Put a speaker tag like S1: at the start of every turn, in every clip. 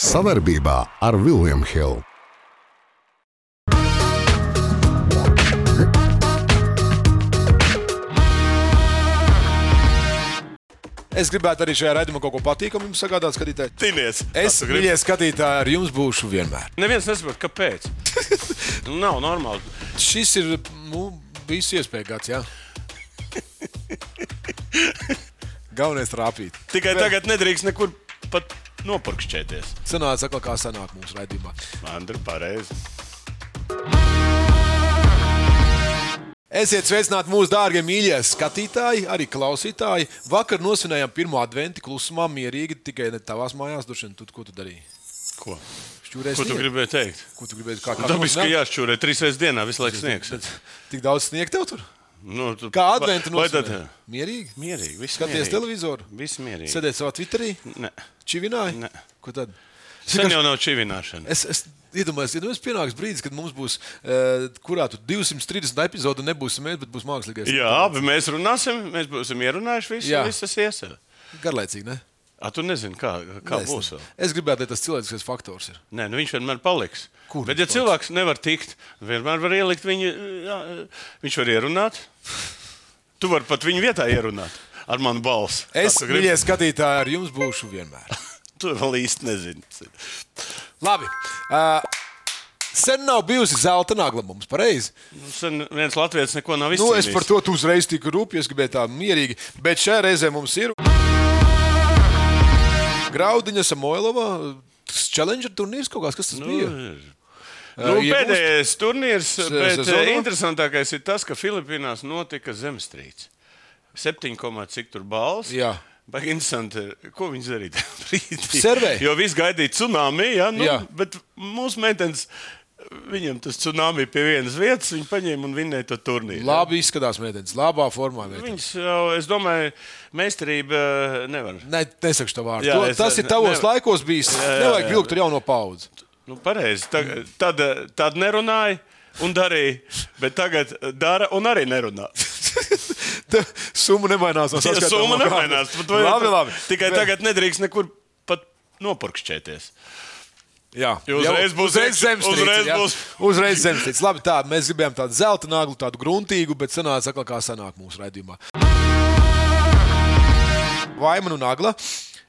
S1: Savarbībā ar Vilniem Hilu.
S2: Es gribētu arī šajā raidījumā kaut ko patīkamu jums sagādāt, skatītāji.
S3: Tinies,
S2: Es, mīļie skatītāji, ar jums būšu vienmēr.
S3: Neviens nesaprot, kāpēc. Nu, Nav normāli.
S2: Šis ir nu, bijis iespējas gads, jā. Galvenais rāpīt.
S3: Tikai tagad nedrīkst nekur pat nopurkšķēties.
S2: Sanāca, atkal kā sanāk mūsu raidījumā.
S3: Andri, pareizi.
S2: Esiet sveicināti mūsu dārgie mīļie skatītāji, arī klausītāji. Vakar nosvinējām pirmo adventu klusumā, mierīgi, tikai ne tavās mājās. Dušan, tu, ko tu darīji?
S3: Ko?
S2: Šķūrēs
S3: Ko tu
S2: sniegu?
S3: gribēji teikt?
S2: Ko tu gribēji? Kā, kā
S3: Dabiski, ka
S2: nosvināt?
S3: jāšķūrē trīs reizes dienā, visu laiku sniegs.
S2: Tik daudz sniega tev tur?
S3: Nu, tu,
S2: Kā adventu
S3: vai- vai tad- eh,
S2: nosvinēja? Mierīgi.
S3: Mierīgi, viss
S2: Skaties televizoru.
S3: Viss mierīgi.
S2: Sēdēt savā Twitterī,
S3: Nē.
S2: čivināji.
S3: Ne.
S2: Ko tad?
S3: Sen jau nav čivināšana.
S2: Es, es iedomājos, ja pienāks brīdis, kad mums būs uh, kurā tur 230 epizode, nebūsim mēs, bet būs mākslīgais.
S3: Jā, abi mēs runāsim, mēs būsim ierunājuši visu,
S2: Jā.
S3: Jā. visas iesēdes.
S2: Garlaicīgi, ne?
S3: A, tu nezini, kā, kā
S2: Nē, es
S3: būs
S2: ne-
S3: vēl.
S2: Es gribētu, lai tas cilvēciskais faktors ir.
S3: Nē, nu viņš vienmēr paliks.
S2: Kur
S3: Bet, ja
S2: viņš
S3: cilvēks nevar tikt, vienmēr var ielikt viņu, jā, viņš var ierunāt. Tu vari pat viņu vietā ierunāt ar manu balsi.
S2: Es,
S3: Kā tu gribi?
S2: mīļie skatītāji, ar jums būšu vienmēr.
S3: To vēl īsti nezinu.
S2: Labi. Uh, sen nav bijusi zelta nagla mums, pareizi.
S3: Nu, Sen viens latviečs neko nav
S2: Nu,
S3: izdarījis.
S2: es par to tu uzreiz tik rūpīgi, es gribēju tā mierīgi. Bet šajā reizē mums ir Graudiņa Samoilova. Tas Challenger turnīrs kaut kāds, kas tas bija?
S3: Nu,
S2: Iegūst-
S3: pēdējais turnīrs, bet
S2: sezonā?
S3: eh, interesantākais ir tas, ka Filipīnās notika zemestrīce. 7,5 balvas.
S2: Jā.
S3: Baigi interesanti, ko viņi darīja tajā brīdī.
S2: Servēja.
S3: Jo viss gaidīja tsunami, ja, nu,
S2: Jā.
S3: bet mūsu meitenes, viņam tas tsunami pie vienas vietas, viņi paņēma un vinnēja to turnīru.
S2: Labi izskatās, mētens, labā formā. Mētens.
S3: Viņas jau, es domāju, meistarība eh, nevar.
S2: Nē, nesakšu to vārdu.
S3: Jā,
S2: to,
S3: es-
S2: tas ir
S3: ne-
S2: tavos
S3: nevar-
S2: laikos bijis.
S3: jā,
S2: Nevajag
S3: jā.
S2: vilkt ar jauno paudzi.
S3: Nu, pareizi. Tag, tad, eh, tad nerunāja un darīja, bet tagad eh, dara un arī nerunā.
S2: Te Summa nemainās. no
S3: Ja
S2: saskatāmā
S3: summa
S2: grāmata.
S3: nemainās. pat vai-
S2: Labi, labi.
S3: Tikai
S2: Bet-
S3: tagad nedrīkst nekur pat nopurkšķēties.
S2: Jā,
S3: Jo uzreiz būs
S2: uzreiz
S3: iekš-
S2: zemstrīce.
S3: uzreiz
S2: jā.
S3: būs-
S2: uzreiz zemstrīce. Labi, tā mēs gribējām tādu zelta naglu, tādu gruntīgu, bet sanāca atkal kā sanāk mūsu raidījumā. Vaimana un nagla.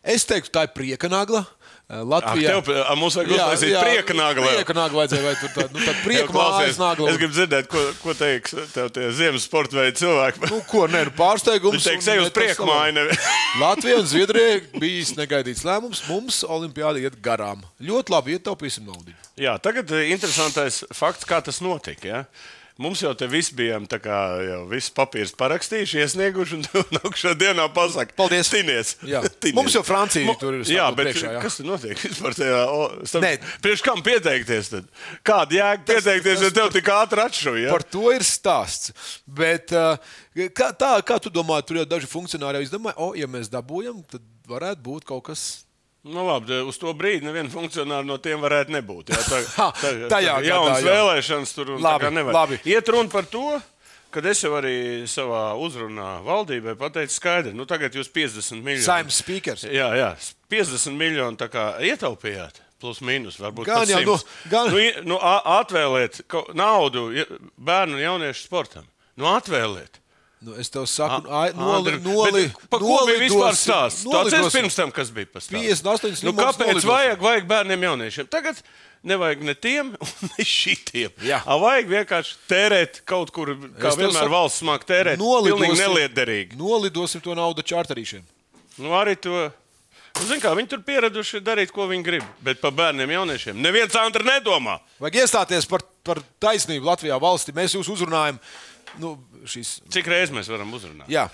S2: Es teiktu, tā ir prieka nagla. Eh,
S3: Ak,
S2: Latvijā.
S3: tev, eh, mums vajag uztaisīt prieka naglu.
S2: Prieka nagla vajadzēja vai tur tādu, nu, tādu
S3: Tev
S2: prieka
S3: klausies,
S2: mājas naglu.
S3: Es gribu dzirdēt, ko, ko teiks tev tie ziemas sporta veidi cilvēki.
S2: Nu, ko, nē, nu, pārsteigums.
S3: Viņš teiks,
S2: un
S3: ej uz
S2: netas
S3: priekšu
S2: labāk.
S3: māju. nevi-
S2: Latvijai un Zviedrijai bija negaidīts lēmums. Mums Olimpijāda iet garām. Ļoti labi ietaupīsim naudu.
S3: Jā, tagad eh, interesantais fakts, kā tas notika. Ja? Mums jau te viss bija, tā kā jau viss papīrs parakstījuši, iesnieguši, un tev nākamā dienā pasakā,
S2: Paldies.
S3: Tinies.
S2: Jā.
S3: Tinies.
S2: Mums jau Francija tur ir
S3: Jā,
S2: stāvot
S3: bet
S2: priekšā, jā.
S3: priekšā, kas tur notiek vispār? Tajā, o, starp,
S2: Nē.
S3: priekš kam pieteikties? Tad? Kāda jēga pieteikties, ja tev tik ātri atšuja?
S2: Par to ir stāsts. Bet, uh, kā, tā, kā tu domā, tur jau daži funkcionāri jau izdomāja, o, ja mēs dabūjam, tad varētu būt kaut kas.
S3: Nu, labi, te uz to brīdi neviena funkcionāra no tiem varētu nebūt. Jā, tā,
S2: Ha, tajā gadā,
S3: jaunas
S2: jā.
S3: vēlēšanas tur un tā
S2: Labi,
S3: kā nevar.
S2: labi.
S3: Iet runa par to, kad es jau arī savā uzrunā valdībai pateicu skaidri, nu tagad jūs 50 miljonus.
S2: Saimnes speakers.
S3: Jā, jā, 50 miljonu tā kā ietaupījāt. Plus, mīnus, varbūt
S2: Gan
S3: pat
S2: jau,
S3: 100.
S2: nu, gan-
S3: Nu, i- nu, a- atvēlēt kaut- naudu ja- bērnu un jauniešu sportam. Nu, atvēlēt.
S2: Nu, es tev saku,
S3: A-
S2: ai, noli,
S3: Andri,
S2: noli,
S3: bet Par ko bija vispār stāsts? Tas ir
S2: nolidosim.
S3: pirms tam, kas bija pastāstīts.
S2: 58
S3: nu,
S2: nu,
S3: kāpēc vajag, vajag bērniem jauniešiem? Tagad nevajag ne tiem, ne šitiem.
S2: Jā.
S3: A, vajag vienkārši tērēt kaut kur, kā
S2: Es tev
S3: vienmēr
S2: saku,
S3: valsts māk tērēt. Pilnīgi neliederīgi.
S2: Nolidosim to naudu čārterīšiem.
S3: Nu, arī to. Nu, zin kā, viņi tur pieraduši darīt, ko viņi grib. Bet par bērniem jauniešiem neviens Andri nedomā.
S2: Vajag iestāties par, par taisnību Latvijā valsti. Mēs jūs uzrunājam. Nu, šis,
S3: Cik reizes mēs varam uzrunāt?
S2: jā.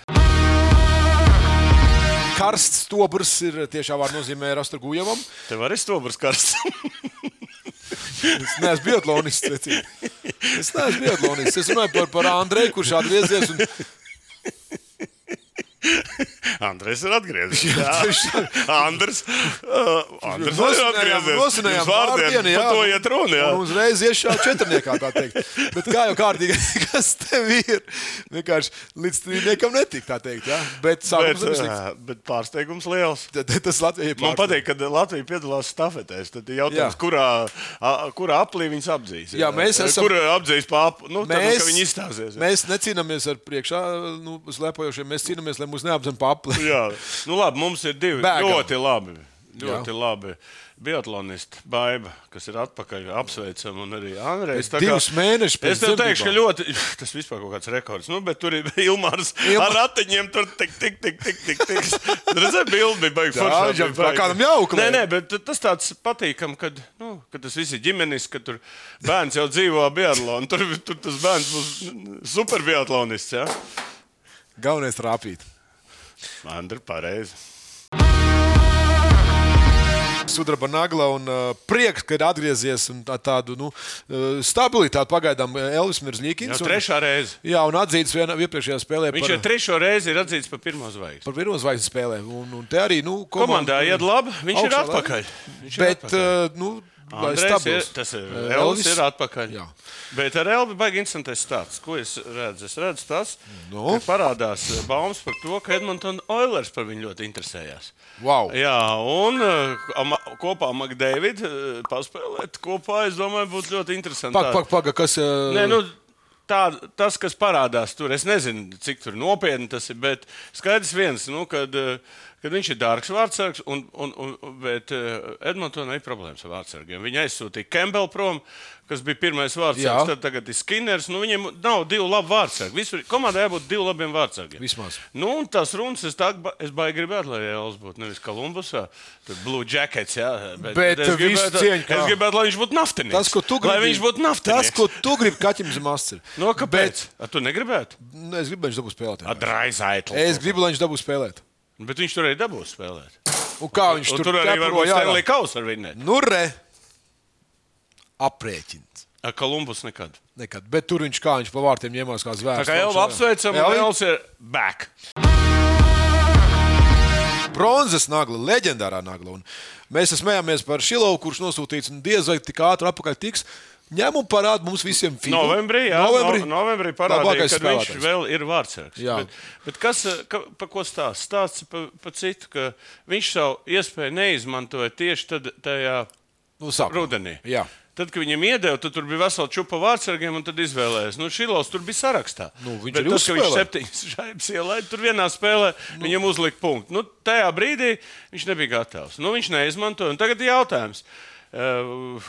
S2: Karsts stobrs ir tiešā vārdā nozīmē Rasturgujevam.
S3: Tev arī stobrs karsts.
S2: Es neesmu biatlonists. Cecīna. Es neesmu biatlonists. Es runāju par, par Andreju, kurš atgriezies. Un...
S3: Andrejs ir atgriezies. Jā, Andrejs. Uh, Andrejs ir
S2: Nosinājām,
S3: atgriezies.
S2: nosinājām
S3: Pirms vārdiem
S2: vārdienu, jā.
S3: Par to iet runa. jā.
S2: Un uzreiz iešā četrniekā, kā teikt. Bet kā jau kārtīgi, kas tev ir? Vienkārši līdz trīniekam netika, tā teikt. Jā. Bet sākums
S3: Bet,
S2: ir slikts.
S3: jā, bet pārsteigums liels.
S2: Tad- tad Tas Latvijai
S3: Man patīk, ka Latvija piedalās stafetēs. Tad ir jautājums,
S2: Jā.
S3: kurā, a- kurā aplī viņas apdzīs.
S2: Jā, mēs esam-
S3: Kur apdzīs pāri? Nu, mēs...
S2: Mēs,
S3: Viņi izstāsies. jā.
S2: mēs necīnāmies ar priekšā nu, slēpojošiem. Mēs cīnāmies, lai mūs neapzinātu papli.
S3: Jā, nu labi, mums ir divi
S2: Bēgam.
S3: ļoti labi. Ļoti Jā. labi. Biatlonists Baiba, kas ir atpakaļ, apsveicam, un arī Andrejs.
S2: Pēc divus mēnešus pēc
S3: Es tev teikšu, ka
S2: dzemdībām.
S3: ļoti. Tas vispār kaut kāds rekords. Nu, bet tur ir Ilmārs ar ratiņiem. Tur tik, tik, tik, tik, tik. tik. Redzēji, bildi bija baigi.
S2: Jā,
S3: foršā,
S2: jā,
S3: bija
S2: tā
S3: baigi.
S2: kādam jauka
S3: Nē,
S2: lieta.
S3: nē, bet tas tāds patīkam, kad, nu, kad tas viss ir ģimenis, ka tur bērns jau dzīvo biatlonā. Tur, tur tas bērns būs super biatlonists. Ja?
S2: Galvenais ir rāpīt.
S3: Andri, pareizi.
S2: Sudraba nagla un uh, prieks, ka ir atgriezies un tā, tādu nu, uh, stabilitāti pagaidām uh, Elvis
S3: Jau
S2: Mirzlīkins.
S3: trešā reize.
S2: Un, jā, un atzīts vienā iepriekšējā spēlē.
S3: Viņš
S2: par,
S3: jau trešo reizi ir atzīts par pirmo zvaigzni.
S2: par viruzvaigznes spēlēm. Un, un te arī nu,
S3: Komandā iet labi, viņš ir
S2: Augšā
S3: atpakaļ. Viņš ir
S2: Bet,
S3: atpakaļ.
S2: uh, nu, lai
S3: Andrejs ir,
S2: stabils.
S3: tas ir
S2: Eh,
S3: Uh, Elvis.
S2: Elvis-
S3: Ir atpakaļ.
S2: Jā.
S3: Bet ar Elvi baigi interesants stāsts. Ko es redzu? Es redzu tas,
S2: Nu?
S3: no. ka parādās eh, baumas par to, ka Edmunds Oilers par viņu ļoti interesējās.
S2: Vau.
S3: Jā, un eh, ama- kopā Makdēvids paspēlēt kopā, es domāju, būtu ļoti interesanti.
S2: Pag, pag, pag, kas, uh,
S3: Nē, nu, tā, tas, kas parādās tur, es nezinu, cik tur nopietni tas ir. Bet skaidrs viens, nu, kad, eh, kad viņš ir dārgs vārdsargs, un, un, un, bet Edmontonai ir problēmas ar vārdsargiem. Viņa aizsūtīja Campbell prom, kas bija pirmais
S2: Jā.
S3: vārdsargs, tad tagad ir Skinners. Nu, viņiem nav divu labu vārdsargu. Visur komandai jābūt diviem labiem vārdsargiem.
S2: Vismaz.
S3: Nu, un tas runas, es, tā, ba- es baigi gribētu, lai Jēlis būtu nevis Kolumbusā, tad Blue Jackets. Jā,
S2: Bet
S3: es
S2: visu
S3: gribētu,
S2: cieņu, kā-
S3: es gribētu, lai viņš būtu naftinieks.
S2: Tas, ko tu gribi,
S3: Lai viņš būtu naftinieks.
S2: tas, ko tu gribi, kaķim zem asins.
S3: No, kāpēc? Bet... Tu negribētu?
S2: Nu, es gribu, lai viņš dabū spēlēt.
S3: Ar Draisaitlu.
S2: Es gribu, lai viņš dabū spēlēt.
S3: Bet viņš tur arī dabūs spēlēt.
S2: Un kā viņš
S3: Un
S2: tur
S3: tur arī var
S2: ķepro
S3: būt
S2: jārā?
S3: Stanley Kaus ar viņu.
S2: Nu, re! Aprēķins.
S3: Ar Kolumbus nekad.
S2: Nekad. Bet tur viņš kā viņš pa vārtiem ņēmās kā
S3: Tā
S2: zvērs.
S3: kā jau apsveicam,
S2: Elvi?
S3: Elvis ir back.
S2: Bronzas nagla, leģendārā nagla. Un mēs smējāmies par Šilovu, kurš nosūtīts un diez vai tik ātri atpakaļ tiks. Ņem un parādi mums visiem filmu.
S3: Novembrī, jā, novembrī, novembrī parādīja,
S2: Labākais
S3: ka viņš
S2: spēlētājs.
S3: vēl ir vārdsargs.
S2: Jā.
S3: Bet, bet kas, eh, ka, pa ko stāsta? Stāsts pa, pa citu, ka viņš savu iespēju neizmantoja tieši tad, tajā
S2: Nu, sākumā.
S3: rudenī.
S2: Jā.
S3: Tad, kad viņam iedeva, tad tur bija vesela čūpa vārdsargiem, un tad izvēlējās. Nu, Šilovs tur bija sarakstā.
S2: Nu, viņš
S3: Bet
S2: arī
S3: tas, ka viņš
S2: uzspēlē.
S3: septiņas žaibas ielaida, tur vienā spēlē nu. viņam uzlika punktu. Nu, tajā brīdī viņš nebija gatavs. Nu, viņš neizmantoja. Un tagad ir jautājums. Uh,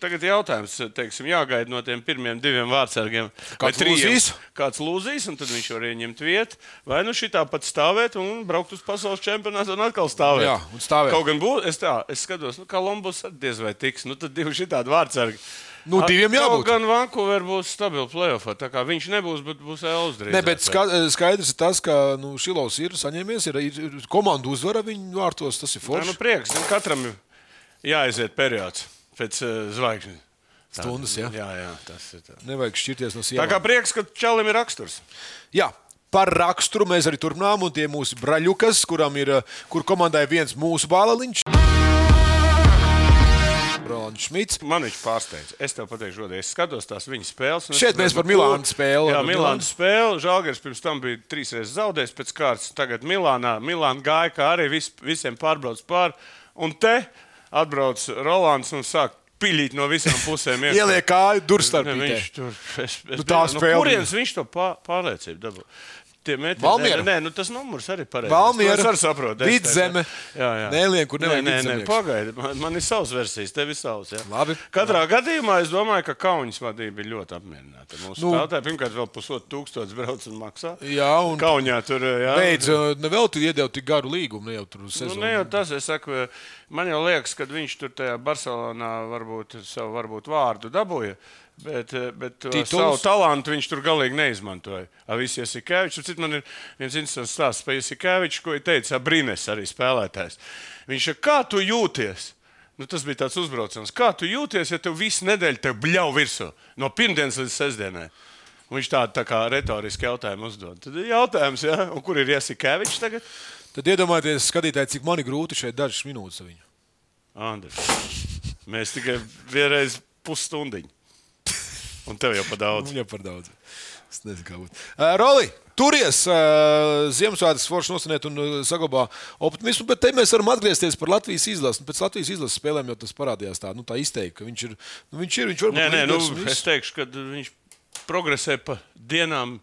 S3: Tagad ir jautājums, teiksim, jāgaida no tiem pirmiem diviem vārdsargiem. vai
S2: Kāds
S3: trijiem.
S2: lūzīs?
S3: Kāds lūzīs, un tad viņš var ieņemt vietu. Vai nu šitā pat stāvēt un braukt uz pasaules čempionātu un atkal stāvēt.
S2: Jā, un stāvēt.
S3: Kaut gan būs, es, tā, es skatos, nu, kā Lombus diez vai tiks. Nu, tad divi šitādi vārdsargi.
S2: Nu, diviem jābūt.
S3: Kaut gan Vankūver būs stabils playoffā. Tā kā viņš nebūs, bet būs Elvis.
S2: Nē, bet ska skaidrs ir tas, ka nu, Šilovs ir saņēmies, ir, ir, ir komanda uzvara viņu vārtos. Tas ir
S3: Tā nu
S2: forši.
S3: prieks. Nu, katram ir jāaiziet periods pēc uh, zvaigžņu. Tā,
S2: Stundas, jā.
S3: jā, jā, tas ir tā.
S2: Nevajag šķirties no
S3: Tā
S2: sievām.
S3: kā prieks, ka Čalim ir raksturs.
S2: Jā. Par raksturu mēs arī turpinām, un tie ir mūsu braļukas, kurām ir, eh, kur komandai viens mūsu bāliņš. Rolands Šmits.
S3: Man viņš pārsteidz. Es tev pateikšu, godīgi, es skatos tās viņa spēles. un es
S2: Šeit mēs
S3: redzu,
S2: par
S3: kur-
S2: Milānu spēli.
S3: Jā, Milāna spēle. Žēlgars pirms tam bija trīs reizes zaudējis pēc kārtas. Tagad Milānā Milāna gāja kā arī vis, visiem pārbrauc pāri. Un te atbrauc Rolands un sāk piļīt no visām pusēm. iekšā.
S2: Ieliek kāju
S3: Ne, viņš
S2: durstarpī.
S3: tur es, es
S2: Nu, tā
S3: nezinu,
S2: spēle
S3: No kurienes viņš to pā, pārliecību dabū? Tie metieni-
S2: Valmiera.
S3: Nē, nē, nu tas numurs arī pareizs.
S2: Valmiera,
S3: Nu, es arī saprotu. es
S2: Vidzeme.
S3: teicu, Jā, jā.
S2: Nelien, kur nevajag
S3: Nē, nē,
S2: vidzemnieks.
S3: nē pagaidi. Man, man ir savs versijas, tev ir savs. Jā.
S2: Labi.
S3: Katrā jā. gadījumā es domāju, ka Kaunis vadība ir ļoti apmierināta. Mūsu
S2: Nu.
S3: nu, spēlētāji pirmkārt vēl pusotru tūkstošu brauc un maksā.
S2: Jā, un
S3: Kaunijā tur jā.
S2: beidz, eh, ne vēl tu iedēvi tik garu līgumu, ne jau tur
S3: Nu, ne
S2: sezonu.
S3: jau tas, es saku, man jau liekas, ka viņš tur tajā Barcelonā varbūt savu varbūt vārdu dabūja. Bet, eh, bet eh,
S2: Tituls?
S3: savu talantu viņš tur galīgi neizmantoja. Avis Jasikevičs, un cits man ir viens interesants stāsts par Jasikeviču, ko ir teicis Abrines, arī spēlētājs. Viņš ir, kā tu jūties? Nu, tas bija tāds uzbrauciens. Kā tu jūties, ja tev visu nedēļu te bļauj virsū no pirmdienas līdz sestdienai? Un Viņš tādu tā kā retoriski jautājumu uzdod. Tad ir jautājums, ja? un kur ir Iesikēvičs tagad?
S2: Tad iedomājieties, skatītāji, cik man ir grūti šeit dažas minūtes ar viņu.
S3: Andris, mēs tikai vienreiz pusstundiņu. Un tev jau pa daudz.
S2: Viņam Nu, par daudz. Es nezinu, kā būtu. Uh, Roli! Turies uh, Ziemassvētku forši nosniedz un uh, saglabā optimismu, bet te mēs varam atgriezties par Latvijas izlasi. Un Pēc Latvijas izlases spēlēm jau tas parādījās tā, nu, tā izteikti, ka viņš ir. Nu, viņš ir, viņš varbūt
S3: Nē, nē, nu,
S2: līderis un viss.
S3: es teikšu, ka viņš progresē pa dienām,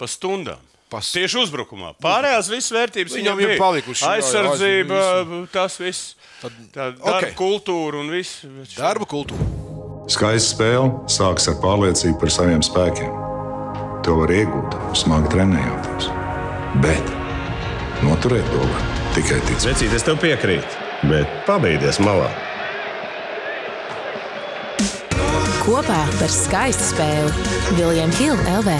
S3: pa stundām.
S2: Pas-
S3: Tieši uzbrukumā. Pārējās visas vērtības
S2: Viņam
S3: viņam
S2: ir
S3: bija.
S2: palikušas, jā, jā,
S3: Aizsardzība,
S2: aizsardzība,
S3: tas viss.
S2: Tad-
S3: Tā darba
S2: Ok.
S3: okay. kultūra un viss. bet šo-
S2: Darba kultūra.
S4: Skaista spēle sākas ar pārliecību par saviem spēkiem. To var iegūt, smagi trenējot. Bet noturēt to var tikai ticēt.
S5: Vecīt, es tev piekrītu, bet pabeigties malā.
S6: Kopā par skaistu spēli Viljams Hilde LV.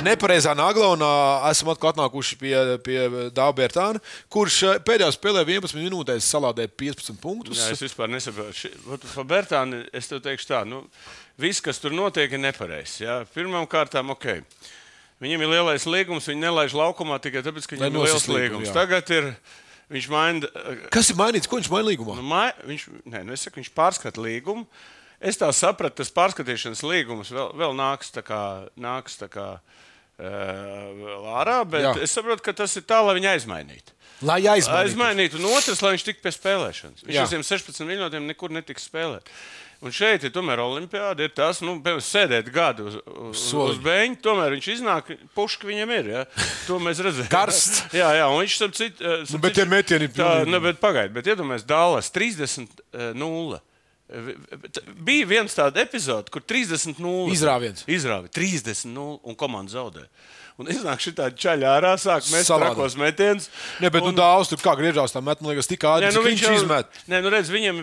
S2: Nepareizā naglonā esam atkal atnākuši pie, pie Dārbērtāna, kurš eh, pēdējā spēlē 11 minūtēs salādēja 15 punktus.
S3: Jā, es vispār nesaprotu. Ši- vat Par Bērtānu es tev teikšu tā, nu, viss, kas tur notiek, ir nepareizs. jā. Pirmkārt, ok. Viņam ir lielais līgums, viņi nelaiž laukumā tikai tāpēc, ka
S2: Lai
S3: viņam ir liels
S2: nosist līgumu,
S3: līgums.
S2: jā.
S3: Tagad ir, viņš maina eh,
S2: Kas ir mainīts? Ko viņš mainīja līgumā?
S3: Nu, mai, viņš, nē, nu, es saku, viņš pārskata līgumu. Es tā sapratu, tas pārskatīšanas līgums vēl, vēl nāks tā kā. Nāks tā kā eh, vēl Ārā, bet
S2: Jā.
S3: Jā. es saprotu, ka tas ir tā, lai viņu aizmainītu.
S2: Lai aizmainītu.
S3: Aizmainīt, un otrs, lai viņš tiktu pie spēlēšanas. Viņš
S2: Jā.
S3: ar tiem 16 minūtēm nekur netiks spēlēt. Un šeit ir tomēr olimpiāda. Ir tas, nu, piemēram, sēdēt gadu uz, uz,
S2: Soliņa.
S3: uz beigām. Tomēr viņš iznāk, puška viņam ir. Ja? To mēs redzam.
S2: Karsts.
S3: Jā, jā, un viņš tam citam.
S2: Nu, bet tie metieni ir
S3: tā,
S2: pilnīgi-
S3: nu, bet pagaidi, bet iedomājieties, Dālas 30. eh, 0. Vi- vi- t- Bija viens tāds episode, kur 30 0.
S2: Izrāviens.
S3: Izrāvi 30 0 un komanda zaudē. Un iznāk šī tāda čaļā ārā, sāk mēs
S2: Savādāk.
S3: trakos metienus.
S2: Nē, bet un... nu, daudz tur kā griežās, tā met, man liekas, tik ātri.
S3: Nē, nu,
S2: viņš izmet.
S3: Nē, nu, redz, viņam,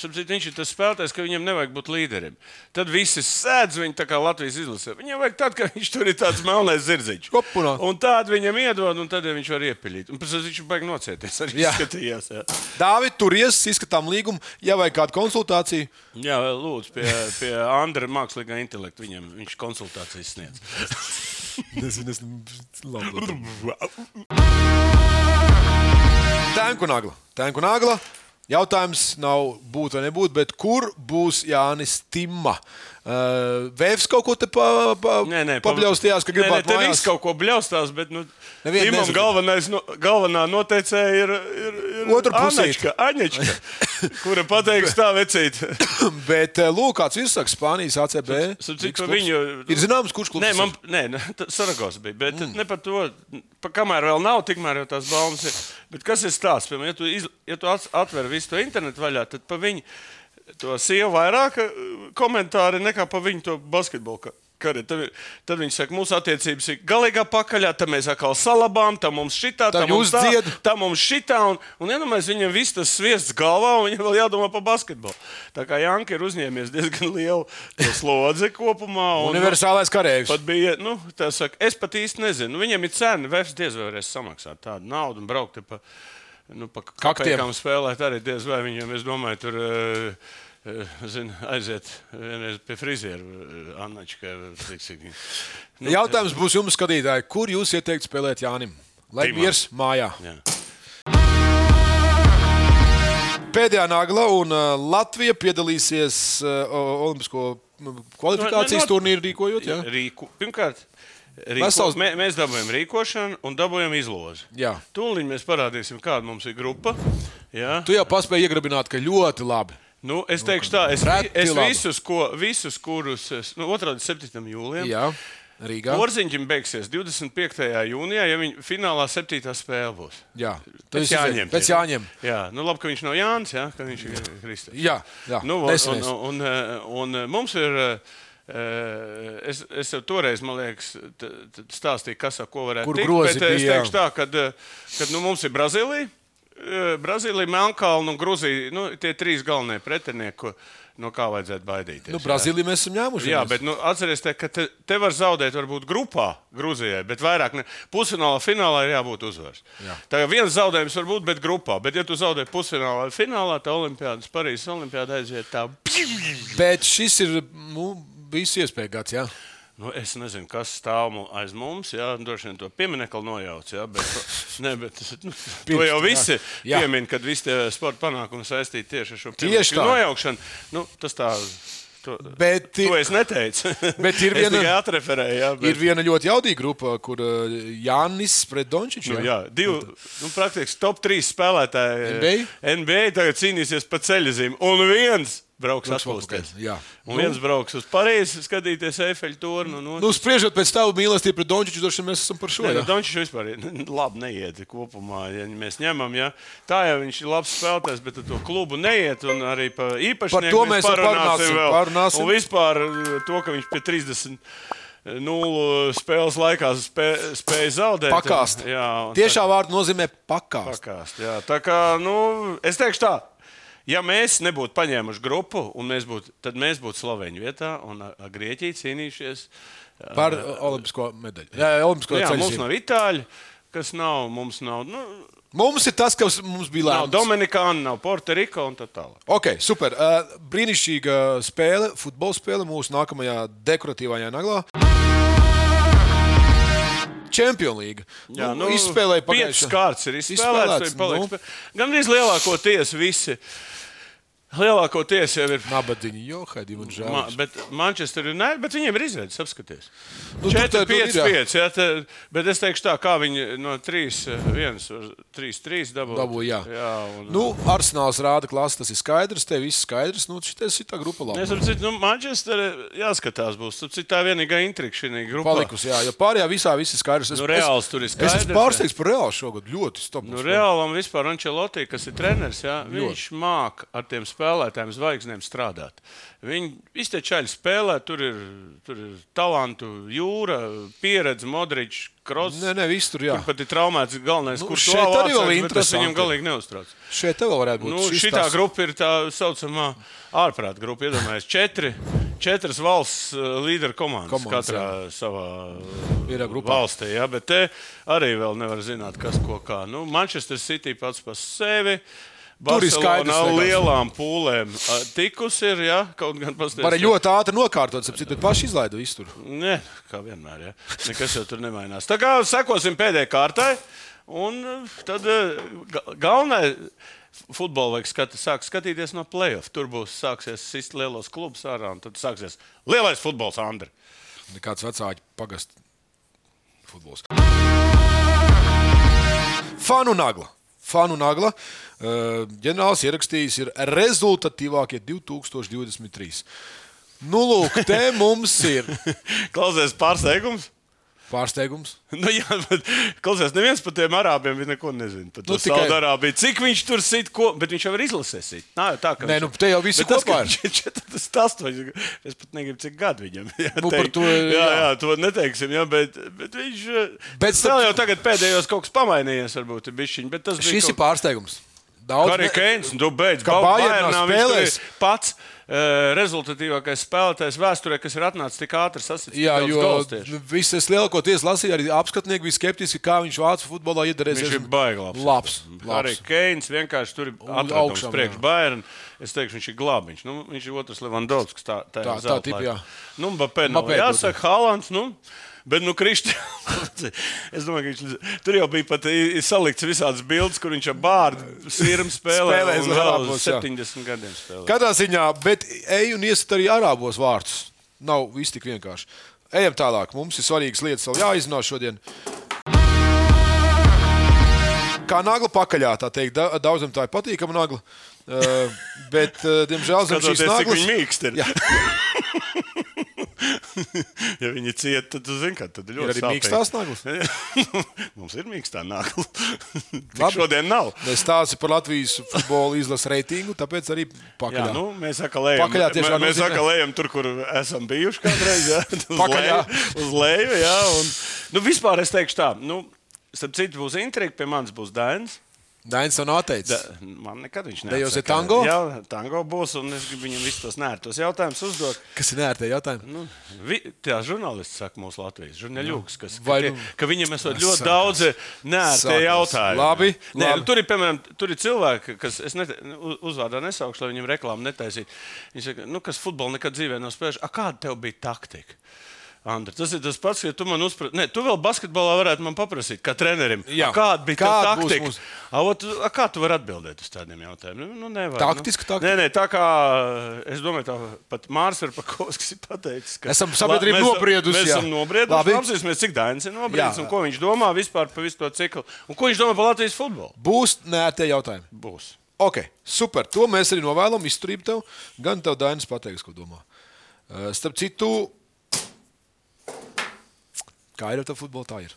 S3: sapcīt, viņš ir tas spēlētājs, ka viņam nevajag būt līderim. Tad visi sēdz viņu tā kā Latvijas izlasē. Viņam vajag tad, kad viņš tur ir tāds melnais zirdziņš.
S2: Kopunā.
S3: Un tādu viņam iedod, un tad viņš var iepiļīt. Un pēc tam viņš baigs nocieties. Arī
S2: Jā.
S3: jā. skatījās. Jā,
S2: Dāvid, tur ies, izskatām līgumu, ja vajag kādu konsultāciju.
S3: jā lūdzu, pie, pie Andra mākslīgā intelekta viņam viņš konsultācijas sniedz.
S2: Nezinu, es labi. Tēnku nagla. Tēnku nagla. Jautājums nav būt vai nebūt, bet kur būs Jānis Timma? Uh, Vēvs kaut ko te pa, pa,
S3: Nē, nē,
S2: papļaustījās, ka gribētu
S3: Nē, nē,
S2: mājās?
S3: viņš kaut ko bļaustās, bet nu,
S2: Nevienu
S3: Timam
S2: nezinu.
S3: galvenais, no, galvenā noteicēja ir, ir, ir
S2: Otra pusīte.
S3: Aņačka, Aņačka, kura pateiks tā vecīt.
S2: Bet, eh, lūk, kāds ir saka, Spānijas ACB.
S3: Sup- cik
S2: X
S3: pa
S2: klubs.
S3: viņu-
S2: Ir zināms, kurš klubs
S3: Nē,
S2: tas
S3: man
S2: ir.
S3: nē, nē, tā Saragos bija. Bet mm. ne par to, pa, kamēr vēl nav, tikmēr jau tās baumas ir. Bet kas ir stāsts? Piemēram, ja tu, iz, ja tu ats- atver visu to internetu vaļā, tad pa viņu to sievu vairāk eh, komentāri nekā pa viņu to basketbolu. ka- kari. Tad, vi- tad viņi saka, mūsu attiecības ir galīgā pakaļā, tad mēs atkal salabām, tad mums šitā,
S2: Tā
S3: tad mums
S2: jūs
S3: tā,
S2: dzied.
S3: tā mums šitā. Un, un iedomājieties, viņam viss tas sviests galvā, un viņam vēl jādomā par basketbolu. Tā kā Janka ir uzņēmies diezgan lielu to slodzi kopumā. un- nu,
S2: Universālais karavīrs.
S3: Pat bija, nu, tā saka, es pat īsti nezinu. Nu, Viņam ir cena, vefs diez vai varēs samaksāt tādu naudu un braukt te pa, nu, pa
S2: Kaktiem.
S3: kaktiem spēlēt. Arī diez vai viņam, es domāju, tur. eh, eh, Zinu, aiziet vienreiz pie friziera, Annačka. eh,
S2: Jautājums būs jums, skatītāji, kur jūs ieteiktu spēlēt Jānim? Lai
S3: Timam.
S2: miers mājā.
S3: Jā.
S2: Pēdējā nagla un uh, Latvija piedalīsies uh, o- Olimpisko mm, kvalifikācijas
S3: Nu, nu,
S2: turnīru rīkojot. Jā.
S3: Rīku, pirmkārt, rīko,
S2: Vesels-
S3: Vesels... mē, mēs dabūjām rīkošanu un dabūjām izlozi.
S2: Jā.
S3: Tūlīt mēs parādīsim, kāda mums ir grupa. Jā.
S2: Tu jau paspēji iegribināt, ka ļoti labi.
S3: Nu, es teikšu, tā, es,
S2: Reti
S3: vi- es
S2: labi.
S3: visus, ko, visus kurus, es- nu, 2. un 7. jūlijā.
S2: Jā, Rīgā.
S3: Porziņģim beigsies 25. jūnijā, ja viņa finālā 7. spēle būs.
S2: Jā,
S3: Tas
S2: viss
S3: jāņem.
S2: izved- Pēc jāņem.
S3: Jā, nu labi, ka viņš nav Jānis, jā, ka viņš ir Kristīns.
S2: Jā, jā.
S3: Nu, un, un,
S2: Nesamies.
S3: un, eh, un eh, mums ir. eh, eh, Es, es jau toreiz, man liekas, t- t- stāstīju, kas ar ko varētu
S2: Kur
S3: tikt,
S2: grozi
S3: bet, eh, Es
S2: bija, jā.
S3: teikšu tā, ka nu, mums ir Brazīlija, eh, Brazīlija, Melnkalna un Grūzija. Nu, tie trīs galvenie pretinieki, ko- no kā vajadzētu baidīties.
S2: Nu,
S3: jā.
S2: Brazīliju mēs esam ņēmuši.
S3: Jā, bet nu, atcerieties, te, ka te, te var zaudēt, varbūt grupā Grūzijai, bet vairāk ne. pusfinālā, finālā ir jābūt uzvaras. Jā. Tā kā viens zaudējums var būt, bet grupā. Bet, ja tu zaudē pusfinālā, finālā, tad Olimpāda, Parīzes Olimpāda aiziet tā.
S2: bet šis ir nu, viss iespēja gads. Jā.
S3: Nu, es nezinu, kas stāv mu- aiz mums. Jā, droši vien to pieminiektu nojauc. Jā, bet, ne, bet, nu, to jau visi
S2: jā. Jā.
S3: piemin, kad visi tie sporta panākumi saistīti tieši ar šo
S2: Tieši
S3: pieminekļu
S2: tā.
S3: nojaukšanu. Nu, tas tā. To,
S2: Bet
S3: to
S2: ir-
S3: es neteicu.
S2: bet ir
S3: Es
S2: viena-
S3: tikai atreferēju. Jā, bet,
S2: Ir viena ļoti jaudīga grupa, kur ā, Jānis pret Dončiču.
S3: Nu, jā, divi nu, praktiski top 3 spēlētāji eh,
S2: NBA?
S3: NBA tagad cīnīsies par ceļzīmi. Un viens brauks
S2: Brauks
S3: atpūsties.
S2: atpūsties, jā.
S3: Un viens brauks uz Parīzi skatīties Eifeļa tornu. un
S2: Nu, spriežot pēc tava mīlestības pret Dončiču, droši vien mēs esam par šo.
S3: Nē, nu,
S2: jā.
S3: Dončis vispār ir labi neiet kopumā. Ja mēs ņemam, ja. tā jau viņš ir labs spēlētājs, bet ar to klubu neiet. Un arī par
S2: Par
S3: īpašnieku
S2: to mēs vēl parunāsim,
S3: vēl.
S2: parunāsim.
S3: Un vispār uh, to, ka viņš pie 30. Nulli spēles laikā spē, spēja zaudēt.
S2: Pakāst.
S3: Jā, un tā-
S2: Tiešā vārda nozīmē pakāst.
S3: Pakāst, jā. tā kā, nu, es teikšu tā, ja mēs nebūtu paņēmuši grupu, un mēs būtu, tad mēs būtu Sloveniju vietā un ar- ar Grieķiju cīnījušies.
S2: Par ā, olimpisko medaļu. Jā, jā, olimpisko
S3: Jā, mums
S2: ceļu.
S3: nav itāļi, kas nav, mums nav, nu,
S2: Mums ir tas, kas mums bija
S3: nav
S2: lēmts.
S3: Dominikāna, nav Puertorika un tā tālāk.
S2: Ok, super. Uh, brīnišķīga spēle, futbola spēle mūsu nākamajā dekoratīvajā naglā. Champions League.
S3: Jā,
S2: nu, izspēlēja
S3: piecas
S2: pagājušā-
S3: kārtas. Ir izspēlēts,
S2: nu,
S3: izspēlēts nu. Gan arī lielākoties visi. Lielākoties jau ir.
S2: Nabadiņi, jo haidī man žēl.
S3: Ma, bet Manchester United, bet viņiem ir izredzes, apskaties.
S2: Nu,
S3: Nu,
S2: tur tā-
S3: 4,
S2: tur ir,
S3: 5,
S2: jā.
S3: 5. Jā, tā, bet es teikšu tā, kā viņi no eh, 3, 1, 3, 3 dabūja.
S2: Dabū, jā.
S3: jā un,
S2: Nu, Arsenāls rāda klasi, tas ir skaidrs. Tev viss skaidrs. Nu, šitais ir tā grupa laba.
S3: Es saprotu, nu, Manchester jāskatās, būs Starp citu, tā vienīgā intriga šī grupā.
S2: Palikusi, jā, jo pārējā visā viss ir skaidrs. Es,
S3: Nu, Reāls
S2: es-
S3: tur ir
S2: Es
S3: skaidrs,
S2: esmu pārsteigts par reālu šogad. Ļoti stop.
S3: Nu, Reālam vispār Ančelotī, kas ir treneris, jā, viņš māca ar tiem spēlētājiem, zvaigznēm strādāt. Viņi iztečaļi spēlē, tur ir, tur ir talantu jūra, pieredze, modričs, kross.
S2: Nē, nē, viss tur jā.
S3: Tur pat ir traumēts galvenais,
S2: Nu,
S3: nu, kurš
S2: šeit
S3: to
S2: arī vēl
S3: vācās, bet tas
S2: interesanti.
S3: viņam galīgi neuztrauc.
S2: Šeit tev varētu būt.
S3: Nu,
S2: šis
S3: šī
S2: tas.
S3: grupa ir tā saucamā ārprāta grupa. Iedomājieties, četri, četras valsts eh, līderu komandas,
S2: Komandas,
S3: komandas katrā jā. savā
S2: Ir grupā.
S3: valstī. Jā, bet te arī vēl nevar zināt, kas ko kā. Nu, Manchester City pats par sevi.
S2: Tur ir
S3: Barcelona
S2: skaidrs,
S3: ar
S2: vienkārši.
S3: lielām pūlēm eh, tikusi ir, jā, kaut gan pastāvīgi.
S2: Var ļoti ātri nokārtot, ap citu, bet paši izlaida visu tur.
S3: Nē, kā vienmēr, ja. nekas jau tur nemainās. Tā kā sekosim pēdējai kārtai, un eh, tad eh, ga- galvenais. Futbolu vajag skati, sāk skatīties no playoff. Tur būs sāksies sist lielos klubus ārā, un tad sāksies lielais futbols, Andri.
S2: Nekāds vecāki pagasts futbols. Fanu nagla. Fanu nagla. eh, Ģenerālis ierakstījis, ir rezultatīvākie 2023. Nu, lūk, te mums ir
S3: Klausies pārsteigums.
S2: pārsteigums.
S3: Nu, jā, bet klausies, neviens par tiem arābiem viņa neko nezina. Par
S2: Nu,
S3: nu,
S2: tikai-
S3: tikai... Arābiju, cik viņš tur sit, ko... bet viņš jau ir izlasījis. sit. Nā, jau tā, ka
S2: Nē,
S3: viņš-
S2: nu, te jau visi
S3: Bet tas,
S2: kopā
S3: ka viņš ir 48, es pat negribu, cik gadu viņam ir.
S2: Nu, par to,
S3: jā,
S2: jā.
S3: jā, to neteiksim, jā, bet, bet viņš.
S2: Bet
S3: Bet
S2: starp-
S3: vēl jau tagad pēdējos kaut kas pamainījies, varbūt ir bišķiņ, bet tas bija.
S2: Šis ir
S3: kaut-
S2: pārsteigums. Daudz
S3: Arī
S2: ne-
S3: Keins, nu, beidz.
S2: Ka
S3: Ba-
S2: Bayernā
S3: Bayernā viņš tur ir
S2: spēlēs.
S3: Pats uh, rezultatīvākais spēlētājs vēsturē, kas ir atnācis tik ātri sasprāstīt.
S2: Jā, jo nu, viss es lielākoties lasīju, arī apskatnieki bija skeptiski, kā viņš vācu futbolā iedarēsies.
S3: Viņš ir baiglabs.
S2: Labs.
S3: Arī
S2: labs.
S3: Keins vienkārši tur ir
S2: augšām,
S3: atrasts
S2: jā.
S3: priekš Bayern. Es teikšu, viņš ir glābiņš. Nu, viņš ir otrs Levandovskis. Tā, tā,
S2: Tā- tā tipa, jā.
S3: Nu, Mbappé nav.
S2: Mbappé,
S3: Jāsaka, Haalands. Nu, Bet, nu, Kristians, es domāju, ka viņš tur jau bija pat i- i- salikts visādas bildes, kur viņš ar bārdu sirmu spēlē.
S2: Spēlē
S3: un
S2: uz
S3: vēl
S2: labos,
S3: uz
S2: jā.
S3: 70 gadiem spēlē.
S2: Katrā ziņā, bet eju un iesit arī arābos vārdus. Nav viss tik vienkārši. Ejam tālāk. Mums ir svarīgas lietas vēl jāizrunā šodien. Kā nagla pakaļā, tā teikt, da- daudziem tā ir patīkama nagla. Uh, bet, uh, diemžēl, zem šīs
S3: Skatoties, cik
S2: naglas
S3: viņi mīkst ir.
S2: Jā.
S3: ja viņi cieta, tad tu zini, ka tad ir ļoti
S2: arī
S3: sāpīgi.
S2: mīkstās naglas?
S3: Mums ir mīkstā nagla. Tik
S2: Labi.
S3: šodien nav.
S2: Mēs stāstām par Latvijas futbola izlases reitingu, tāpēc arī pakaļā.
S3: Jā, nu, mēs atkal lejam,
S2: Pakaļā
S3: mē-
S2: tiešām
S3: mēs
S2: nozīmē.
S3: atkal lejam tur, kur esam bijuši kādreiz. Jā, uz
S2: Pakaļā.
S3: leju- Uz leju. Jā, un, nu, vispār es teikšu tā, nu, starp citu, būs intriga, pie manis būs Dainis.
S2: Dainis to nav
S3: Da,
S2: teicis.
S3: man nekad viņš nav.
S2: Dejos ir tango?
S3: Jā, tango būs, un es gribu viņam visus tos nērtos jautājumus uzdot.
S2: Kas ir nērtie jautājumi?
S3: Nu, vi, tā žurnālists saka, mūsu Latvijas žurnālists, kas ka
S2: Vai
S3: tie-
S2: nu-
S3: ka viņam esot ļoti
S2: Sākās.
S3: daudz eh, nērti
S2: Sākās.
S3: jautājumu.
S2: Labi,
S3: Nē,
S2: labi.
S3: nu, Tur ir, piemēram, tur ir cilvēki, kas es net, nu, uzvārdā nesaukšu, lai viņam reklāmu netaisītu. Viņš saka, nu, kas futbolu nekad dzīvē nav spēlējis. "A, Kāda tev bija taktika? Andri, tas ir tas pats, ja tu man uzsprāst. Nē, tu vēl basketbolā varētu man paprasīt, kā trenerim.
S2: Jā.
S3: "A, Kāda bija
S2: Kāda
S3: tā
S2: būs
S3: taktika?
S2: mūsu-
S3: A, ot, a, Kā tu vari atbildēt uz tādiem jautājumiem? Nu, nevar,
S2: Taktiska
S3: nu.
S2: taktika?
S3: Nē, nē, tā kā es domāju, tā pat Mārcis Kalniņš ir pateicis, ka
S2: Esam sabiedrību
S3: Mēs-
S2: nobriedusi,
S3: Mēs
S2: jā.
S3: esam nobrieduši.
S2: Labi.
S3: Labi. Apzīmēsim, cik Dainis ir nobriedis
S2: Jā.
S3: un ko viņš domā vispār par visu to ciklu. Un ko viņš domā par Latvijas futbolu?
S2: Būs nērtie jautājumi.
S3: Būs.
S2: Ok, super. To mēs arī novēlam. Izturību tev. Gan tev, Dainis, pateiks, ko domā. Eh, Starp citu, kā ir ar to futbolu, tā ir.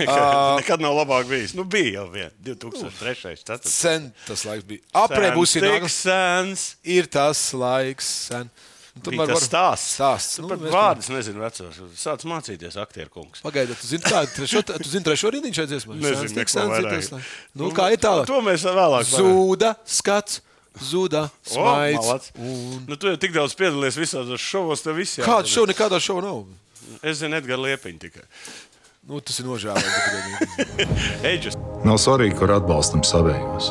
S3: Nekad nav labāk bijis. Nu, bija jau viena. 2003. Tas
S2: Sen tas laiks bija. Aprē būs ienākums.
S3: sens.
S2: Ir tas laiks. Sen. Nu,
S3: Tomēr tas stāsts.
S2: stāsts.
S3: Nu,
S2: Nu,
S3: pat
S2: mēs-
S3: vārdus nezinu vecos. Sāc mācīties aktieru kungs.
S2: Pagaidiet, tu zini, tā, trešo, tu zini trešo rītdienu šeit dziesmā. Sens, tik sens, ir tas laiks. Nu, kā ir tālāk?
S3: To mēs vēlāk. varam.
S2: Zūda skats, zuda
S3: O,
S2: smaids.
S3: malac. Nu, tu jau tik daudz piedalies visādos šovos, tev visiem.
S2: Kāda šova nekādā šova nav?
S3: Es zinu, Edgars Liepiņš tikai.
S2: Nu, tas ir nožēlojami.
S3: Eģis.
S4: Nav svarīgi, kur atbalstam savējos.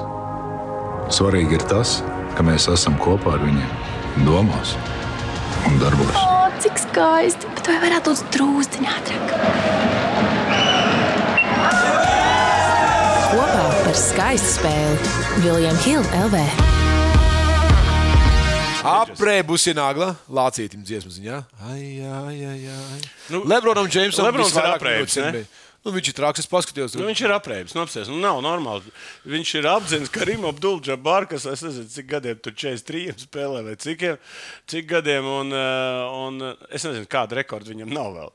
S4: Svarīgi ir tas, ka mēs esam kopā ar viņiem, domās un darbos.
S7: O, cik skaisti! Bet vai varētu būt drūzāk, ātrāk?
S6: Kopā par skaistu spēli Viljams Hilde LV.
S2: Aprē būs ienākla lācītim dziesmas ziņā. Ai, ai, ai, ai. Nu,
S3: Nu,
S2: Lebronam Džeimsam
S3: Lebrons ir
S2: visvairāk
S3: aprēbis,
S2: minūtes
S3: ne?
S2: NBA. Nu, viņš ir traks, es paskatījos.
S3: Nu, viņš ir apgājis, nu, apsies, nu, nav normāli. Viņš ir apzināts, ka Rīgas apgabala bārā, kas es nezinu, cik gadiem tur 43 spēlē, vai cik, cik gadiem, un, eh, un es nezinu, kādu rekordu viņam nav vēl.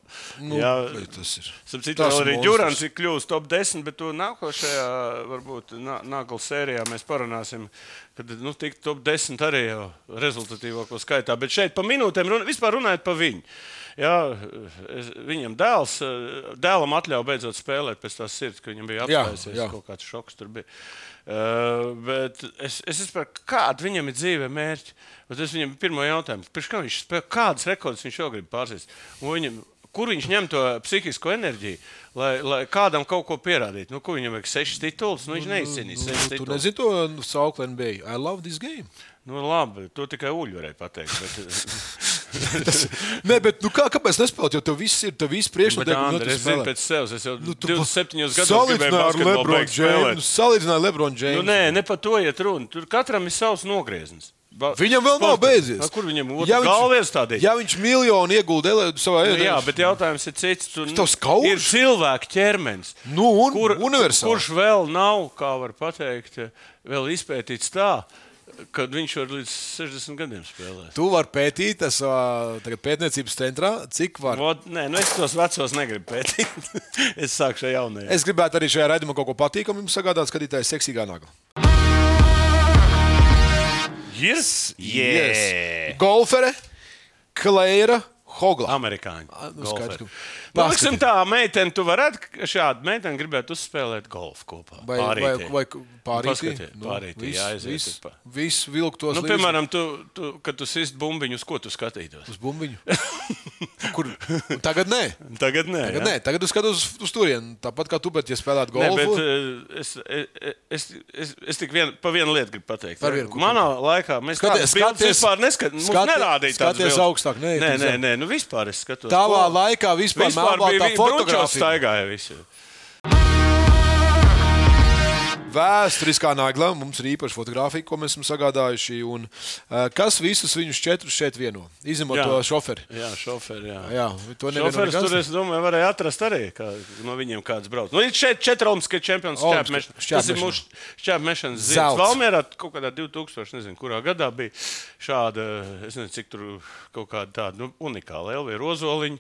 S2: Nu, vai tas ir?
S3: Sapratu,
S2: Tas
S3: arī
S2: monstrs.
S3: Džurans ir kļuvis top 10, bet to nākošajā, varbūt nā- nākamajā sērijā mēs parunāsim, kad nu, tiks top 10 arī jau rezultatīvāko skaitā. Bet šeit pa minūtēm runa, vispār runājot par viņu. Jā, es, viņam dēls, eh, dēlam atļauja beidzot spēlēt pēc tās sirds, ka viņam bija
S2: Jā,
S3: apstājusies.
S2: jā.
S3: kaut kaut kāds šoks tur bija. Uh, bet es, es saprotu, kāda viņam ir dzīve mērķa. Bet es viņam pirmo jautājumu, pirms kā viņš spēlē, kādas rekordus viņš jau grib pārsēst. Viņam, kur viņš ņem to psihisko enerģiju, lai, lai kādam kaut ko pierādītu? Nu, kur viņam vajag sešas titulus? Nu, viņš neizcīnīs sešas
S2: Tu
S3: titulus.
S2: nezini to nu, saukli NBA. I love this game.
S3: Nu, labi, to tikai Uļu varēja pateikt. Bet...
S2: Nē, bet nu, kā, kāpēc nespēlēt? Jo tev viss ir, tev viss
S3: Bet,
S2: priekšnotiek. nu,
S3: Andri,
S2: tu
S3: es zinu,
S2: spēlē.
S3: pēc sevis. Es jau
S2: Nu, tu
S3: 27 gados gribēju
S2: salīdzināji ar Nu,
S3: basketbolu
S2: Lebronu
S3: beigt spēlēt.
S2: Džeimsu. Salīdzināja Lebronu
S3: Nu,
S2: Džeimsu.
S3: nē, ne par to iet runa. Tur katram ir savs nogrieziens. Ba
S2: Viņam vēl nav
S3: sportā.
S2: beidzies.
S3: A, Kur viņam otrs ja galvies tādēļ?
S2: Ja viņš miljonu ieguldīja savā
S3: Nu,
S2: ēdienā,
S3: jā, bet jautājums ir cits. Tur
S2: Tas kauns?
S3: ir cilvēka ķermenis.
S2: Nu, un universāls.
S3: Kurš vēl nav, kā var pateikt, vēl izpētīts tā, ka viņš var līdz 60 gadiem spēlēt.
S2: tu vari pētīt tas savā tagad pētniecības centrā, cik var.
S3: Vot, nē, nu es tos vecos negribu pētīt. es sāku ar jaunajiem.
S2: Es gribētu arī šajā raidījumā kaut ko patīkamu jums sagādāt, skatītāji, seksīgā nagla.
S3: Yes,
S2: Yes. Golfere, Kleira, Hogla.
S3: Amerikāņi.
S2: nu, skaidrs,
S3: golferi.
S2: ka-
S3: Nu, Liksim tā, meitene, tu varētu šādu meiteni gribētu uzspēlēt golfu kopā.
S2: Vai, vai,
S3: Pārītī. Nu,
S2: vai pārītī? Nu,
S3: Paskatieties, pārītī,
S2: viss-
S3: jāaiziet
S2: viss-
S3: pa-
S2: Viss vilktos
S3: Nu,
S2: līdzi
S3: piemēram, tu, tu, kad tu sist bumbiņu, uz ko tu skatītos?
S2: uz bumbiņu. Kur? Tagad nē.
S3: Tagad nē.
S2: Tagad,
S3: jā?
S2: nē, tagad es skatos uz, uz turieni. Tāpat kā tu, bet, ja spēlētu
S3: Nē,
S2: golfu,
S3: bet eh, es, eh, es, es, es tikai vien, par vienu lietu gribu pateikt.
S2: Par
S3: ja?
S2: vienu, ko
S3: Manā laikā mēs
S2: Skaties,
S3: skatāmies, kādas
S2: skaties-
S3: vispār neskatījāmies.
S2: skaties-
S3: Mums nerādīja tādas
S2: skaties
S3: bildes.
S2: augstāk, nē,
S3: nē,
S2: tik
S3: nē,
S2: zem.
S3: nē, nu vispār es skatos.
S2: Tavā
S3: Ko-
S2: laikā vispār
S3: Vispār
S2: melnbaltā
S3: bija
S2: fotogrāfija.
S3: fotografija. Staigāja visi.
S2: Vēsturiskā nagla mums ir īpaša fotografija, ko mēs esam sagādājuši. Un, eh, kas visus viņus četrus šeit vieno? Izņemot
S3: Jā.
S2: to šoferi.
S3: Jā, šoferi. Jā.
S2: Jā, to nevienu
S3: Šoferis
S2: nekas.
S3: tur, es domāju, varēja atrast arī kā, no viņiem kāds brauc. Nu, ir šeit četri Olimpiskie čempioni
S2: Olimpiskie
S3: šķēpmešana. Tas
S2: šķēpmešanā.
S3: ir mūsu šķēpmešanas
S2: Zelts.
S3: zīme. Valmērā kaut kādā 2000, nezinu, kurā gadā bija šāda, es nezinu, cik tur kaut kāda tāda nu, unikāla Elvija Rozoliņa.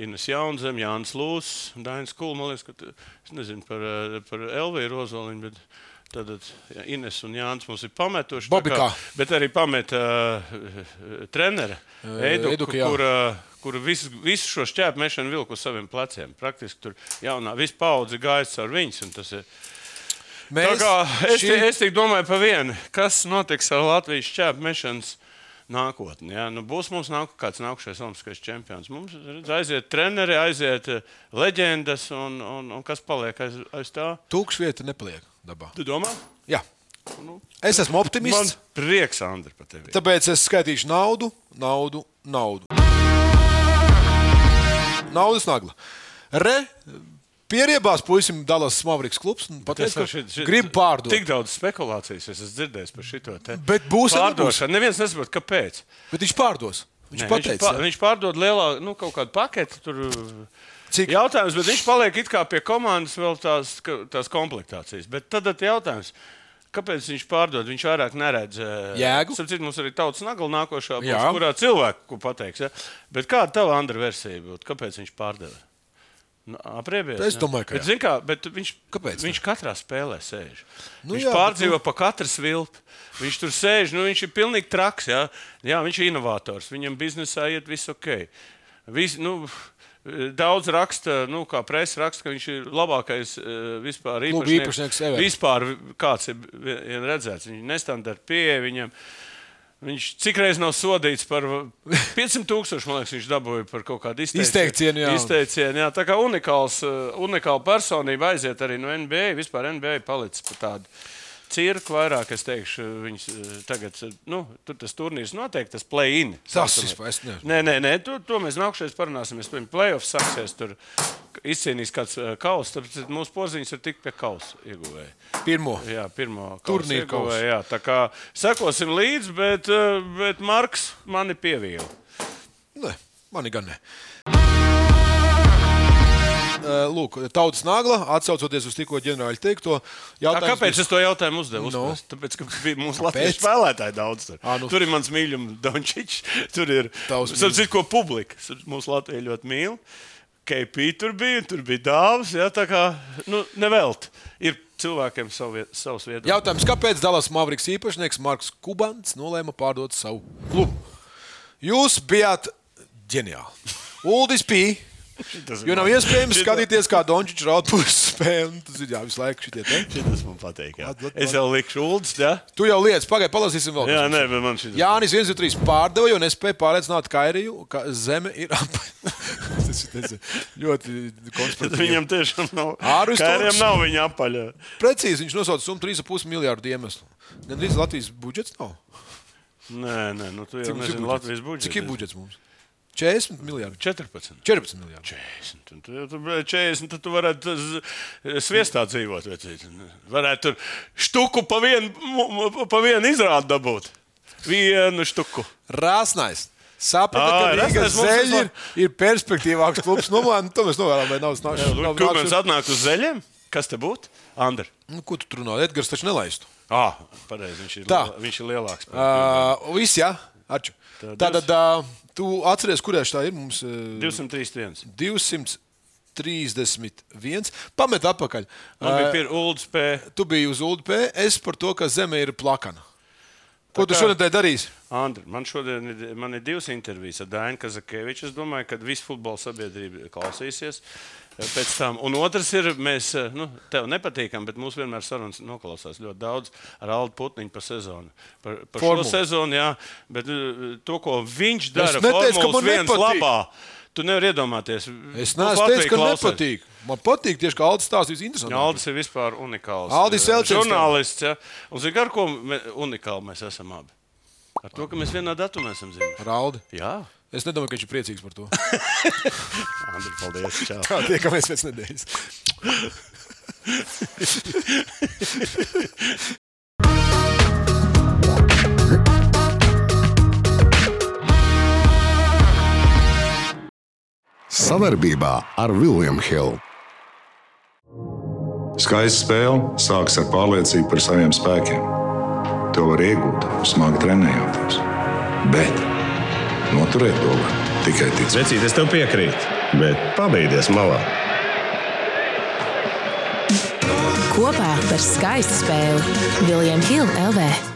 S3: Ines Jaunzem, Jānis Lūs, Dainis Kulmanis, ka tu- es nezinu par, eh, par Elviju Rozoliņu, bet tad Ines un Jānis mums ir pametuši. tā
S2: Bobikā.
S3: bet arī pameta eh, trenera Eidu,
S2: Eiduka, jā.
S3: kur, eh, kur visu, visu šo šķēpu mešanu vilku uz saviem pleciem. Praktiski tur jaunā, visa paudze gājas caur viņus. un tas ir- Tā
S2: Mēs
S3: kā es, šī...
S2: šī-
S3: es tik domāju par vienu, kas notiks ar Latvijas šķēpu mešanas nākotni. Ja? Nu, būs mums nāk, kāds nākamais Olimpiskais čempions. Mums redz, aiziet treneri, aiziet eh, leģendas un, un, un kas paliek aiz, aiz tā.
S2: Tūkstoš vieta nepaliek dabā.
S3: Tu domā?
S2: Jā. Es esmu
S3: Nu. Man
S2: optimists,
S3: prieks, Andri, par tevi.
S2: tāpēc es skaitīšu naudu, naudu, naudu. Naudas nagla. Re, pieriebās puisim Dallas Mavriks klubs un pateica, ka šit, šit, grib pārdot.
S3: Tik daudz spekulācijas es esmu dzirdējis par šo te.
S2: Bet būs vai nebūs?
S3: pārdošana. Neviens nesaprot, kāpēc.
S2: Bet viņš pārdos. Viņš
S3: Nē,
S2: Nē,
S3: viņš,
S2: pateica,
S3: pār, viņš pārdod lielā, nu, kaut kādu paketi. Tur,
S2: Cik?
S3: Cik? Jautājums, bet viņš paliek it kā pie komandas vēl tās, ka- tās komplektācijas. Bet tad ir jautājums. Kāpēc viņš pārdod? Viņš vairāk neredz eh,
S2: Jēgu?
S3: Starp citu, mums arī tautas nagla nākošā būs,
S2: Jā.
S3: kurā cilvēku ko pateiks. Ja? Bet kāda tava Andra versija būtu? Kāpēc viņš pārdeva? Nu, Apriebies.
S2: Es
S3: ne?
S2: domāju, ka
S3: bet,
S2: jā.
S3: zini kā, bet viņš,
S2: Kāpēc ne?
S3: viņš katrā spēlē sēž.
S2: Nu
S3: Nu,
S2: jā,
S3: viņš jā,
S2: bet
S3: pārdzīvo pa katru svilpi. Viņš tur sēž, nu, viņš ir pilnīgi traks. Jā, jā viņš ir inovators. Viņam biznesā iet viss ok. Vis, nu, Daudz raksta, nu, kā presa raksta, ka viņš ir labākais eh, vispār
S2: Kluba
S3: īpašnieks.
S2: īpašnieks ever.
S3: Vispār kāds ir vien redzēts. Viņš ir nestandarta pieeja. Viņam, viņš cik reizes nav sodīts par 500 tūkstošu, man liekas, viņš dabūja par kaut kādu izteicienu.
S2: Izteicienu, jā.
S3: Izteicienu, jā. Tā kā unikāls, eh, unikāla personība aiziet arī no NBA. Vispār NBA palicis par tādu. Cirku vairāk, es teikšu, viņas eh, tagad, eh, nu, tur tas turnīrs noteikti, tas play-in.
S2: Tas
S3: saucamais.
S2: vispār, es nezinu.
S3: Nē, nē, nē to, to mēs nākamreiz parunāsimies. Pirms playoffs sāksies, tur izcīnīs kāds eh, kaus, tad mūsu poziņas ir tik pie kausa ieguvēja.
S2: pirmo.
S3: Jā, pirmā
S2: Turnīra kausa.
S3: Jā, tā kā sekosim līdzi, bet, eh, bet Marks mani pievīla.
S2: Nē, man gan ne. Eh, Lūk, tautas nagla, atcaucoties uz tikko ģenerāļa teikto.
S3: Tā,
S2: jautājums
S3: kāpēc es to jautājumu uzdevu?
S2: Nu?
S3: No. Tāpēc, ka bija mūsu latviešu spēlētāji daudz. Tur,
S2: Ā,
S3: à,
S2: nu.
S3: nu. tur ir mans mīļākais Dončits, tur ir
S2: Tavs
S3: Sapratu, cik ko publika. Sapratu, Mūsu latvieši ļoti mīl. KP tur bija, tur bija dāvāns. Tā kā nu, nevelt. Ir cilvēkiem savu, vie- savs viedoklis.
S2: Jautājums, kāpēc Dallas Mavriks īpašnieks Marks Kubants nolēma pārdot savu klubu? Jūs bijāt ģeniāli. Uldis P.
S3: Šitas ir
S2: Jo nav
S3: man-
S2: iespējams
S3: šita-
S2: skatīties, kā Dončits raud puses spēli. Tas ir jā, visu laiku šitie te.
S3: Šitas man patīk. jā.
S2: Vat, vat,
S3: Es
S2: vat.
S3: jau lieku šūdas. Ja?
S2: Tu jau lietas, pagaidi, palasīsim vēl.
S3: Jā, nē, bet man šis
S2: Jānis 123 pārdeva, jo nespēja pārliecināt Kairiju, ka zeme ir ap. tas ir tas ir ļoti
S3: Tad
S2: konstruktīvi.
S3: viņam tiešām nav.
S2: Ārus
S3: Kādiem
S2: Turks.
S3: nav viņa apaļa.
S2: Precīzi viņš nosauca summu 3,5 miljardu iemeslu. Gan drīz Latvijas budžets nav.
S3: Nē, nē, nu tu jau
S2: Cik mums ir
S3: nezini Latvijas budžets.
S2: Cik ir budžets mums? 40 miljardi.
S3: 14.
S2: 14 miljardi.
S3: 40. un Tu, jau tur, brāl, 40, tad tu varētu z- sviestā dzīvot. vecīt. Varētu tur štuku pa vienu, mu- mu- pa vienu izrādu dabūt. Vienu štuku.
S2: Rāsnais. Saprotu,
S3: Ā,
S2: ka Rīgas
S3: Rāsnais mums
S2: zeļi ir,
S3: vislab-
S2: ir perspektīvāks klubs. Nu, man, to mēs novērām, vai nav
S3: Tur kāds
S2: snākšanas.
S3: atnāk uz zeļiem? Kas te būtu? Andri.
S2: Nu, ko tu tur runā? Edgars taču nelaistu.
S3: Ah, pareizi. Viņš, ir
S2: Tā.
S3: lielā- viņš ir lielāks. par-
S2: Uh, viss, jā, arču.
S3: Tā,
S2: Tātad, uh, tu atceries, kurēš tā ir mums? Uh,
S3: 231.
S2: 231. Pamet atpakaļ.
S3: Man bija
S2: Ā,
S3: pie Ulds P.
S2: Tu biji uz ULP, es par to, ka zeme ir plakana. Ko
S3: Tā
S2: tu
S3: kā-
S2: šonadēļ darīsi?
S3: Andri, man šodien ir, man ir divas intervijas ar Dainu Kazakeviču. Es domāju, ka viss futbola sabiedrība klausīsies. eh, Pēc tam. Un otrs ir, mēs eh, nu, tev nepatīkam, bet mūsu vienmēr sarunas noklausās ļoti daudz ar Aldu Putniņu par sezonu. Par, par šo
S2: Formulu.
S3: sezonu, jā, bet eh, to, ko viņš dara,
S2: neteicu, ka
S3: Formulas
S2: man
S3: viens
S2: nepatīk.
S3: labā. Tu nevari iedomāties.
S2: Es
S3: Tu
S2: neesmu
S3: Latviju
S2: teicis, ka
S3: klausies.
S2: nepatīk. Man patīk tieši, ka Aldis stāsta
S3: Jā,
S2: visinteresantākais.
S3: Aldis ir vispār unikāls.
S2: Aldis
S3: eh,
S2: Elčins.
S3: žurnālists. Ja? Un zini, ar ko me, unikāli mēs esam abi? Ar to, ka mēs vienā datumā esam zīmējuši.
S2: Ar Aldi.
S3: Jā,
S2: Es nedomāju, ka viņš ir priecīgs par to.
S3: Andri, paldies. Čau.
S2: Tā tiekamies pēc nedēļas.
S1: Savarbībā ar William Hill.
S4: Skaista spēle sākas ar pārliecību par saviem spēkiem. To var iegūt, smagi trenējoties. Bet noturēt to var tikai ticēt.
S5: Vecīt, es tev piekrītu, bet pabeigties malā.
S6: Kopā par skaistu spēli Viljams Hilde LV.